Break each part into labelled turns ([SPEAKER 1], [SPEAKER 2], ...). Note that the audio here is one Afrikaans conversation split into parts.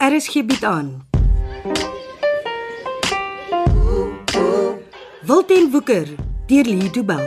[SPEAKER 1] RSG bied Er aan. Wilten Woeker deur Lee Du Bell.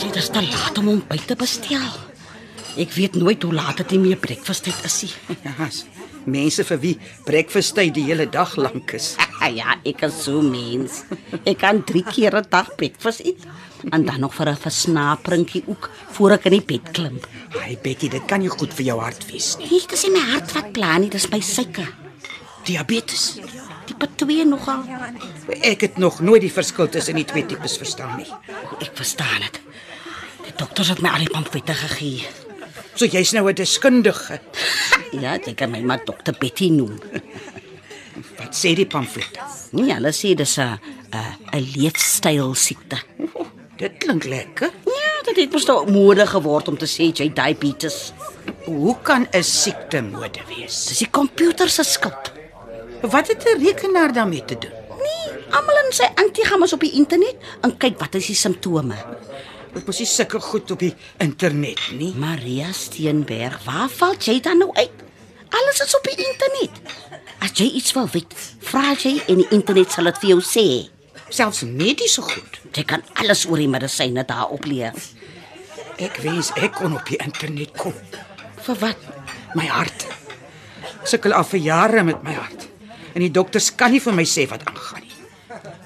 [SPEAKER 2] Dit is te laat om hom by te bestel. Ek weet nooit hoe laat dit nie meer breakfast tyd is nie.
[SPEAKER 3] Ja's mense vir wie breakfast tyd die hele dag lank is.
[SPEAKER 2] ja, ek is so mens. Ek kan 3 keer 'n dag breakfast eet en dan nog vir 'n versnaperingkie ook voor ek in die bed klim.
[SPEAKER 3] Ai Betty, dit kan nie goed vir jou hart wees nie.
[SPEAKER 2] Hier is nie my hart wat pla nie, dis my suiker.
[SPEAKER 3] Diabetes.
[SPEAKER 2] Tipe 2 nogal.
[SPEAKER 3] Ek het nog nooit die verskil tussen die twee tipes verstaan nie.
[SPEAKER 2] Ek verstaan dit. Die dokters het my al die pamflette gegee.
[SPEAKER 3] So jy's nou 'n deskundige.
[SPEAKER 2] Ja, jy kan my maar dokter Betty noem.
[SPEAKER 3] Wat sê die pamflette?
[SPEAKER 2] Nee, hulle sê dis 'n 'n 'n leefstyl siekte.
[SPEAKER 3] Dit klink lekker.
[SPEAKER 2] Ja, dit het mos nou mode geword om te sê jy diabetes.
[SPEAKER 3] Hoe kan 'n siekte mode wees?
[SPEAKER 2] Dis die komputer se skuld. Nee,
[SPEAKER 3] Wat het 'n rekenaar daarmee te doen?
[SPEAKER 2] Almal in sy antigaam is op die internet en kyk wat is die simptome.
[SPEAKER 3] Dit mos nie sulke goed op die internet nie.
[SPEAKER 2] Maria Steenberg, waar val jy dan nou uit? Alles is op die internet. As jy iets wil weet, vra jy en die internet sal dit vir jou sê.
[SPEAKER 3] Selfs mediese goed.
[SPEAKER 2] Jy kan alles oor die medisyne daar opleer.
[SPEAKER 3] Ek wens ek kon op die internet kom.
[SPEAKER 2] Vir wat?
[SPEAKER 3] My hart. Sukkel al vir jare met my hart. En die dokters kan nie vir my sê wat aangaan nie.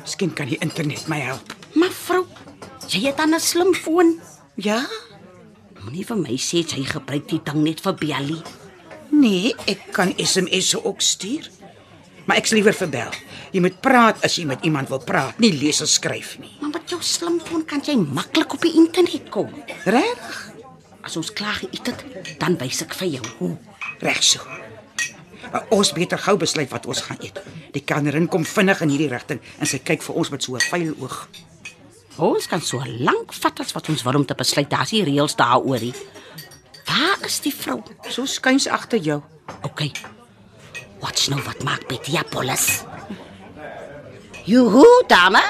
[SPEAKER 3] Miskien kan die internet my help.
[SPEAKER 2] Mevrou, jy het dan 'n slimfoon.
[SPEAKER 3] Ja?
[SPEAKER 2] Moenie vir my sê jy gebruik die ding net vir belly.
[SPEAKER 3] Nee, ek kan SMS'e ook stuur. Maar ek's liewer vir bel. Jy moet praat as jy met iemand wil praat, nie lees en skryf nie.
[SPEAKER 2] Maar met jou slimfoon kan jy maklik op die internet kom.
[SPEAKER 3] Reg?
[SPEAKER 2] As ons klaar geëet het, dan wys ek vir jou hoe.
[SPEAKER 3] Reg so. Maar ons beter gou besluit wat ons gaan eet. Die kannerin kom vinnig in hierdie rigting en sy kyk vir ons met so 'n vuil oog.
[SPEAKER 2] Ons kan so lank vat as wat ons wil om te besluit. Daar's nie reëls daaroor nie. Waar is die vrou?
[SPEAKER 3] So skuins agter jou.
[SPEAKER 2] OK. Wat's nou wat maak Betty Apollos? Joho, dame.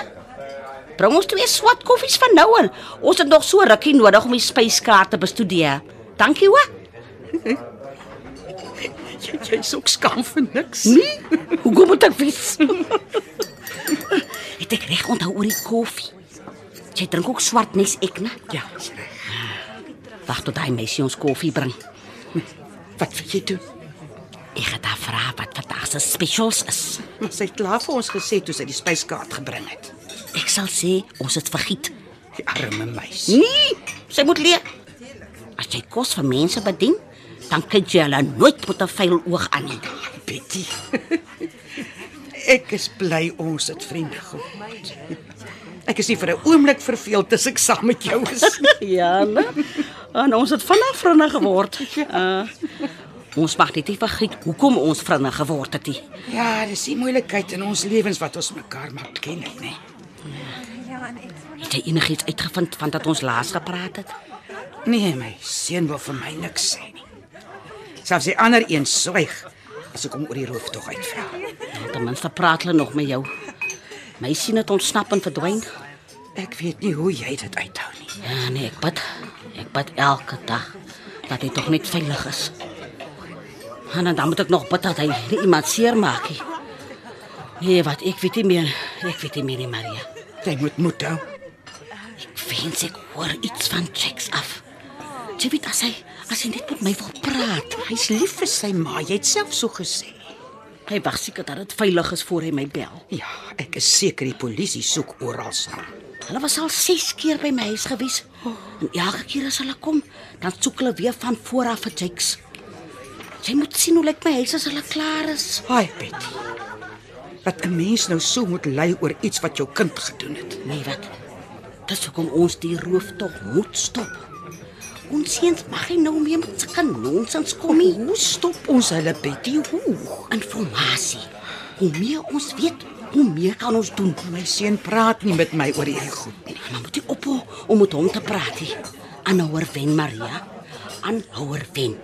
[SPEAKER 2] Bring ons twee swart koffies van nou aan. Ons het nog so rukkie nodig om die spyskaart te bestudeer. Dankie hoor.
[SPEAKER 3] Jy- Jy's ook skaam vir niks.
[SPEAKER 2] Nee. Hoekom moet ek wys? het ek reg onthou oor die koffie? Jy drink ook swart nes ek, né?
[SPEAKER 3] Ja, is reg.
[SPEAKER 2] Wag tot daai meisie ons koffie bring.
[SPEAKER 3] Wat wil jy doen?
[SPEAKER 2] Ek het haar vra wat vandag se specials is.
[SPEAKER 3] Sy het klaar vir ons gesê toe sy die spyskaart gebring het.
[SPEAKER 2] Ek sal sê ons het vergiet.
[SPEAKER 3] Die arme meisie.
[SPEAKER 2] Nee, sy moet leer. As jy kos vir mense bedien, dan kyk jy hulle nooit met 'n vuil oog aan nie.
[SPEAKER 3] Betty. Ek is bly ons het vriende geword. Ek is nie vir 'n oomblik verveel tussen ek saam met jou is. nie.
[SPEAKER 2] Ja, ne? en ons het vanaf vriende geword. Uh, ons mag net nie vergiet hoekom ons vriende geword het nie.
[SPEAKER 3] Ja, dis die moeilikheid in ons lewens wat ons mekaar maar ken, né?
[SPEAKER 2] Het jy enigiets uitgevind van dat ons laas gepraat het?
[SPEAKER 3] Nee, my seun wil vir my niks sê nie. Selfs die ander een swyg as ek hom oor die roof tog uitvra.
[SPEAKER 2] Nou, ten minste praat hulle nog met jou. My sien het ontsnap en verdwyn.
[SPEAKER 3] Ek weet nie hoe jy dit uithou nie.
[SPEAKER 2] Ja, nee, ek bid. Ek bid elke dag dat hy tog net veilig is. En dan moet ek nog bid dat hy nie iemand seermaak nie. Nee, wat ek weet nie meer. Ek weet nie meer nie, Maria.
[SPEAKER 3] Jy moet moed hou.
[SPEAKER 2] Ek wens ek hoor iets van Jacques af. Jy weet as hy as hy net met my wil praat.
[SPEAKER 3] Hy's lief vir sy ma, jy het self so gesê.
[SPEAKER 2] Hy wag seker dat dit veilig is voor hy my bel.
[SPEAKER 3] Ja, ek is seker die polisie soek oral na.
[SPEAKER 2] Hulle was al 6 keer by my huis gewees. En elke keer as hulle kom, dan soek hulle weer van voor af vir Jacques. Jy moet sien hoe lyk my huis as hulle klaar is.
[SPEAKER 3] Haai, Betty. Wat 'n mens nou so moet ly oor iets wat jou kind gedoen het.
[SPEAKER 2] Nee, wat? Dis hoekom ons die rooftog moet stop. Ons seuns mag nie nou meer met sulke nonsens kom nie.
[SPEAKER 3] Hoe stop ons hulle, Betty? Hoe?
[SPEAKER 2] Informasie. Hoe meer ons weet, hoe meer kan ons doen.
[SPEAKER 3] My seun praat nie met my oor hierdie goed nie.
[SPEAKER 2] Maar moet jy ophou om met hom te praat nie. Aanhouer wen Maria. Aanhouer wen.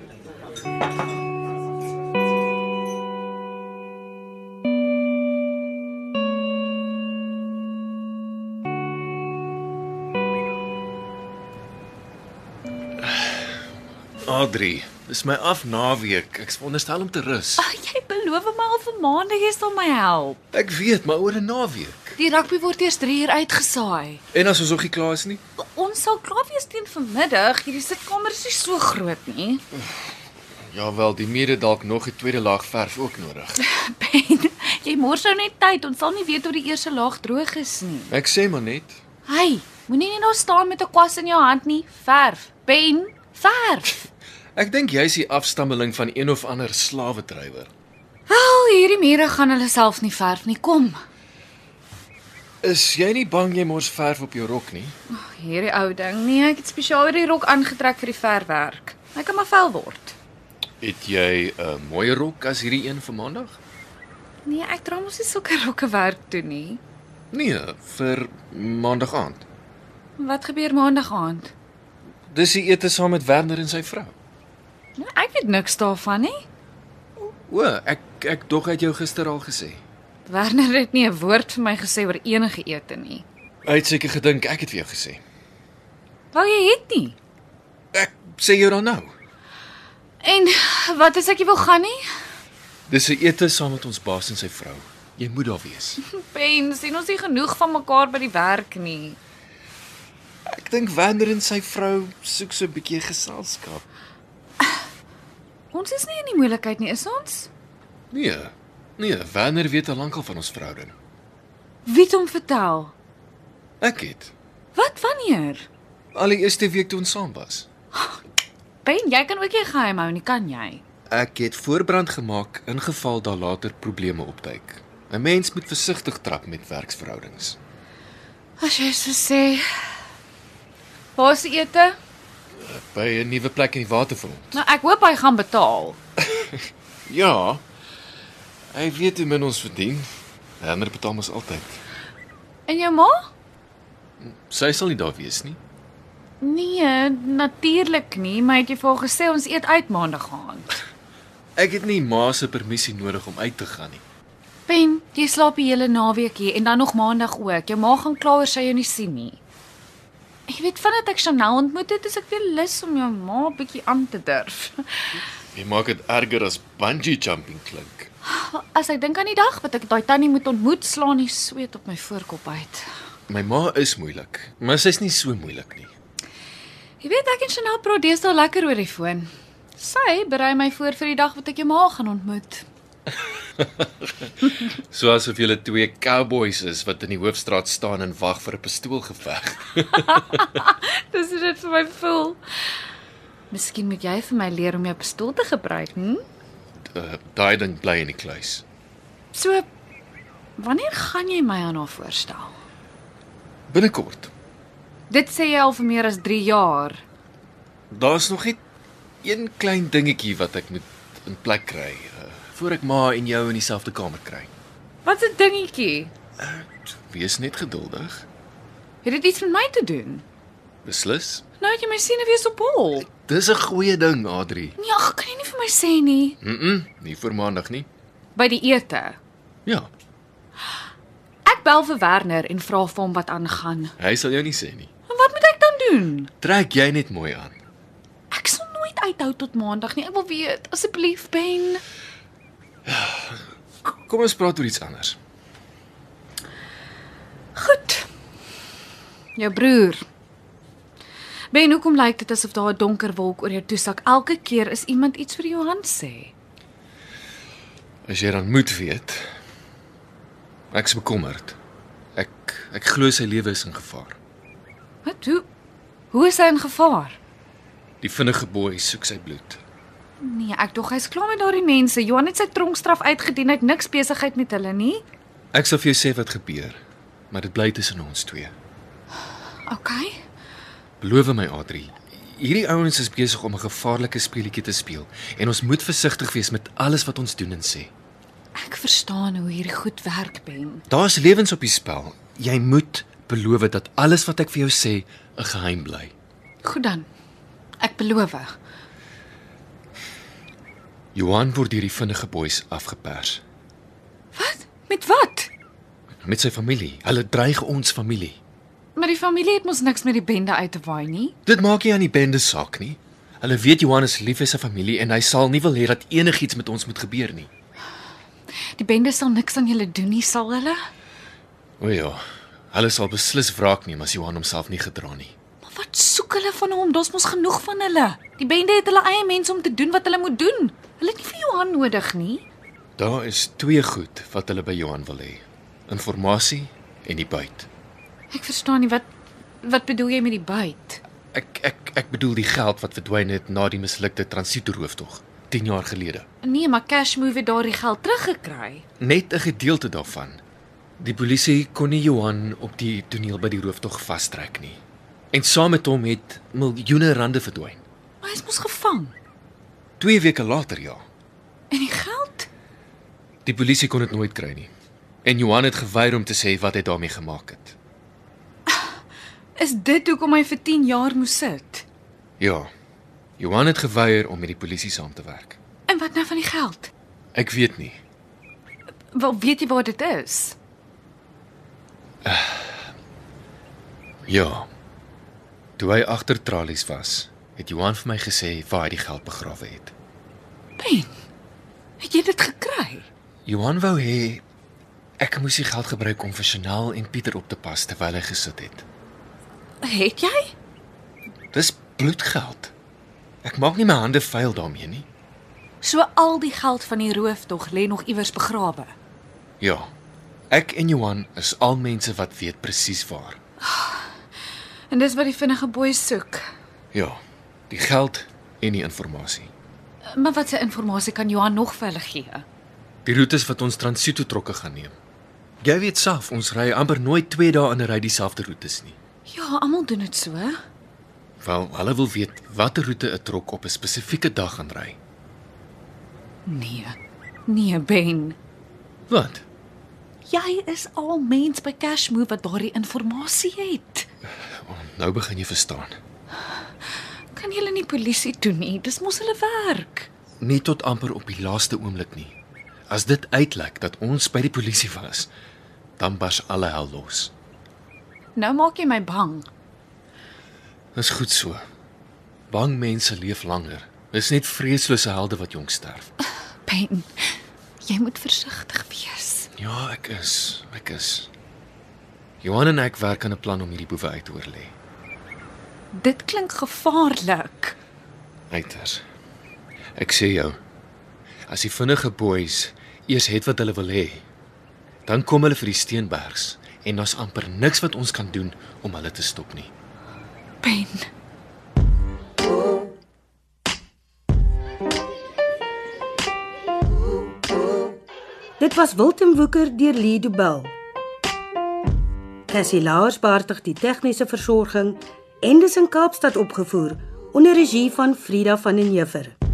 [SPEAKER 4] Adri, dis my af naweek. Ek's veronderstel om te rus.
[SPEAKER 5] Ag, jy beloof my al vir maande jy sal my help.
[SPEAKER 4] Ek weet, maar oor 'n naweek.
[SPEAKER 5] Die rugby word eers 3 uur uitgesaai.
[SPEAKER 4] En as ons nog nie klaar is nie,
[SPEAKER 5] Ons sal klaar wees teen vanmiddag. Hierdie sitkamer is nie so groot nie.
[SPEAKER 4] ja wel, die mede dalk nog 'n tweede laag verf ook nodig.
[SPEAKER 5] Ben, jy mors nou net tyd. Ons sal nie weet hoe die eerste laag droog is nie.
[SPEAKER 4] Ek sê maar net,
[SPEAKER 5] Hey, moenie net nou staan met 'n kwas in jou hand nie. Verf. Ben, verf.
[SPEAKER 4] ek dink jy's die afstammeling van een of ander slawedrywer.
[SPEAKER 5] Wel, hierdie mure gaan hulle self nie verf nie. Kom.
[SPEAKER 4] Is jy nie bang jy mors verf op jou rok nie?
[SPEAKER 5] Ag, hierdie ou ding. Nee, ek het spesiaal hierdie rok aangetrek vir die verfwerk. Hy kan maar vuil word.
[SPEAKER 4] Het jy 'n mooier rok as hierdie een vir maandag?
[SPEAKER 5] Nee, ek dra mos nie sulke rokke werk toe nie.
[SPEAKER 4] Nee, vir maandag aand.
[SPEAKER 5] Wat gebeur maandag aand?
[SPEAKER 4] Dis die ete saam met Werner en sy vrou.
[SPEAKER 5] Nou, ek weet niks daarvan nie.
[SPEAKER 4] O, ek ek dog uit jou gister al gesê.
[SPEAKER 5] Werner het nie 'n woord vir my gesê oor enige ete nie.
[SPEAKER 4] Hy het seker gedink ek het vir jou gesê.
[SPEAKER 5] Wou jy het nie?
[SPEAKER 4] Ek sê jou dan nou.
[SPEAKER 5] En wat as ek nie wil gaan nie?
[SPEAKER 4] Dis 'n ete saam met ons baas en sy vrou. Jy moet daar wees.
[SPEAKER 5] Ben, sien ons nie genoeg van mekaar by die werk nie.
[SPEAKER 4] Ek dink Wander en sy vrou soek so 'n bietjie geselskap.
[SPEAKER 5] Ons is nie in die moeilikheid nie, is ons?
[SPEAKER 4] Nee. Nee, Wander weet al lank al van ons verhouding.
[SPEAKER 5] Wie het hom vertel?
[SPEAKER 4] Ek het
[SPEAKER 5] Wat wanneer?
[SPEAKER 4] al die eerste week toe ons saam was.
[SPEAKER 5] Ben, jy kan ook jy geheim hou nie, kan jy?
[SPEAKER 4] Ek het voorbrand gemaak ingeval daar later probleme opduik. 'n Mens moet versigtig trap met werksverhoudings.
[SPEAKER 5] As jy so sê. Waar is die ete?
[SPEAKER 4] By 'n nuwe plek in die waterfront.
[SPEAKER 5] Nou ek hoop hy gaan betaal.
[SPEAKER 4] Ja. Hy weet hoe min ons verdien. Werner betaal ons altyd.
[SPEAKER 5] En jou ma?
[SPEAKER 4] Sy sal nie daar wees nie.
[SPEAKER 5] Nee, natuurlik nie, maar het jy vir haar gesê ons eet uit maandag aand?
[SPEAKER 4] Ek het nie ma se permissie nodig om uit te gaan nie.
[SPEAKER 5] Ben, jy slaap die hele naweek hier en dan nog maandag ook. Jou ma gaan kla oor sy jou nie sien nie. Jy weet vandat ek Chanel ontmoet het, is ek weer lus om jou ma bietjie aan te durf.
[SPEAKER 4] Jy maak dit erger as bungee jumping klink.
[SPEAKER 5] As ek dink aan die dag wat ek daai tannie moet ontmoet, slaan die sweet op my voorkop uit.
[SPEAKER 4] My ma is moeilik, maar sy's nie so moeilik nie.
[SPEAKER 5] Jy weet ek en Chanel praat deesdae lekker oor die foon. Sy berei my voor vir die dag wat ek jou ma gaan ontmoet.
[SPEAKER 4] So asof julle twee cowboys is wat in die hoofstraat staan en wag vir 'n pistoolgeveg.
[SPEAKER 5] Dis hoe dit vir my voel. Miskien moet jy vir my leer om jou pistool te gebruik, hm?
[SPEAKER 4] Uh, Daai ding bly in die kluis.
[SPEAKER 5] So wanneer gaan jy my aan haar voorstel?
[SPEAKER 4] Binnekort.
[SPEAKER 5] Dit sê jy al vir meer as 3 jaar.
[SPEAKER 4] Daar's nog net een klein dingetjie wat ek moet in plek kry uh, voor ek ma en jou in dieselfde kamer kry.
[SPEAKER 5] Wat 'n dingetjie.
[SPEAKER 4] Wees net geduldig.
[SPEAKER 5] Het dit iets met my te doen?
[SPEAKER 4] Beslis.
[SPEAKER 5] Nou het jy my siene weer op hol.
[SPEAKER 4] Dis 'n goeie ding, Adri.
[SPEAKER 5] Nee, ag, kan jy nie vir my sê nie
[SPEAKER 4] Mm, -mm nie vir maandag nie.
[SPEAKER 5] by die ete.
[SPEAKER 4] Ja,
[SPEAKER 5] Ek bel vir Werner en vra vir hom wat aangaan.
[SPEAKER 4] hy sal jou nie sê nie.
[SPEAKER 5] En wat moet ek dan doen?
[SPEAKER 4] Trek jy net mooi aan.
[SPEAKER 5] Ek sal nooit uithou tot maandag nie. Ek wil weet, asseblief Ben.
[SPEAKER 4] Kom ons praat oor iets anders.
[SPEAKER 5] Goed. Jou broer. Ben, hoekom lyk dit asof daar 'n donker wolk oor jou toesak? Elke keer is iemand iets vir jou hand sê.
[SPEAKER 4] As jy dan moet weet. Ek's bekommerd. Ek ek glo sy lewe is in gevaar.
[SPEAKER 5] Wat? Hoe? Hoe is hy in gevaar?
[SPEAKER 4] Die vinnige boy soek sy bloed.
[SPEAKER 5] Nee, ek dog hy's klaar met daardie mense. Johan het sy tronkstraf uitgedien. Hy het niks besigheid met hulle nie.
[SPEAKER 4] Ek sal vir jou sê wat gebeur, maar dit bly tussen ons twee.
[SPEAKER 5] OK.
[SPEAKER 4] Beloof my, Adri. Hierdie ouens is besig om 'n gevaarlike speletjie te speel en ons moet versigtig wees met alles wat ons doen en sê.
[SPEAKER 5] Ek verstaan hoe hierdie goed werk, Ben.
[SPEAKER 4] Daar's lewens op die spel. Jy moet beloof dat alles wat ek vir jou sê 'n geheim bly.
[SPEAKER 5] Goed dan. Ek beloof.
[SPEAKER 4] Johan word deur die vinnige boys afgepers.
[SPEAKER 5] Wat? Met wat?
[SPEAKER 4] met sy familie. Hulle dreig ons familie.
[SPEAKER 5] Maar die familie het mos niks met die bende uit te waai nie.
[SPEAKER 4] Dit maak nie aan die bende saak nie. Hulle weet Johan is lief vir sy familie en hy sal nie wil hê dat enigiets met ons moet gebeur nie.
[SPEAKER 5] Die bende sal niks aan julle doen nie, sal hulle?
[SPEAKER 4] O ja, hulle sal beslis wraak neem as Johan homself nie gedra nie.
[SPEAKER 5] Maar wat soek hulle van hom? Daar's mos genoeg van hulle. Die bende het hulle eie mense om te doen wat hulle moet doen. Hulle het nie vir Johan nodig nie.
[SPEAKER 4] Daar is twee goed wat hulle by Johan wil hê: inligting en die byt.
[SPEAKER 5] Ek verstaan nie wat wat bedoel jy met die byt?
[SPEAKER 4] Ek ek ek bedoel die geld wat verdwyn het na die mislukte transitoeroftog 10 jaar gelede.
[SPEAKER 5] Nee, maar Cash Move het daardie geld teruggekry.
[SPEAKER 4] Net 'n gedeelte daarvan. Die polisie kon nie Johan op die toneel by die rooftog vastrek nie. En saam met hom het miljoene rande verdwyn.
[SPEAKER 5] Maar hy's mos gevang.
[SPEAKER 4] 2 weke later ja.
[SPEAKER 5] En die geld?
[SPEAKER 4] Die polisie kon dit nooit kry nie. En Johan het geweier om te sê wat hy daarmee gemaak het.
[SPEAKER 5] Is dit hoekom hy vir 10 jaar moes sit?
[SPEAKER 4] Ja. Johan het geweier om met die polisie saam te werk.
[SPEAKER 5] En wat nou van die geld?
[SPEAKER 4] Ek weet nie.
[SPEAKER 5] Wel, weet jy waar dit is?
[SPEAKER 4] Ja. Toe hy agter tralies was, het Johan vir my gesê waar hy die geld begrawe het.
[SPEAKER 5] Ben. Het jy dit gekry?
[SPEAKER 4] Johan wou hê ek moes die geld gebruik om vir Chanel en Pieter op te pas terwyl hy gesit het.
[SPEAKER 5] Het jy?
[SPEAKER 4] Dis bloedgeld. Ek maak nie my hande vuil daarmee nie.
[SPEAKER 5] So al die geld van die rooftog lê nog iewers begrawe.
[SPEAKER 4] Ja. Ek en Johan is al mense wat weet presies waar.
[SPEAKER 5] En dis wat die vinnige boei soek.
[SPEAKER 4] Ja. Die geld en die inligting.
[SPEAKER 5] Maar watse inligting kan Johan nog vir hulle gee?
[SPEAKER 4] Die roetes wat ons transito trokke gaan neem. Jy weet self, ons ry amper nooit 2 dae in 'n ry dieselfde roetes nie.
[SPEAKER 5] Ja, almal doen dit so.
[SPEAKER 4] Wel, hulle wil weet watter roete 'n trok op 'n spesifieke dag gaan ry.
[SPEAKER 5] Nee. Nee, Ben.
[SPEAKER 4] Wat?
[SPEAKER 5] Jy is al mens by Cashmove wat daardie inligting het.
[SPEAKER 4] Nou begin jy verstaan.
[SPEAKER 5] Kan jy hulle nie polisie toe nie? Dis mos hulle werk.
[SPEAKER 4] Nie tot amper op die laaste oomblik nie. As dit uitlek dat ons by die polisie was, dan bars alle hel los.
[SPEAKER 5] Nou maak jy my bang.
[SPEAKER 4] Dis goed so. Bang mense leef langer. Dis net vreeslose helde wat jonk sterf.
[SPEAKER 5] Ben, jy moet versigtig wees.
[SPEAKER 4] Ja, ek is. Ek is. Johan en ek werk aan 'n plan om hierdie boewe uit te oorlê.
[SPEAKER 5] Dit klink gevaarlik.
[SPEAKER 4] Uiters. Ek sê jou, as die vinnige boeis eers het wat hulle wil hê, dan kom hulle vir die Steenbergs en daar's amper niks wat ons kan doen om hulle te stop nie.
[SPEAKER 5] Ben.
[SPEAKER 1] Dit was Wilten Woeker deur Lee Du Bell. Cassie Lauers beheer die tegniese versorging en dit is in Kaapstad opgevoer onder regie van Frida van den Heever.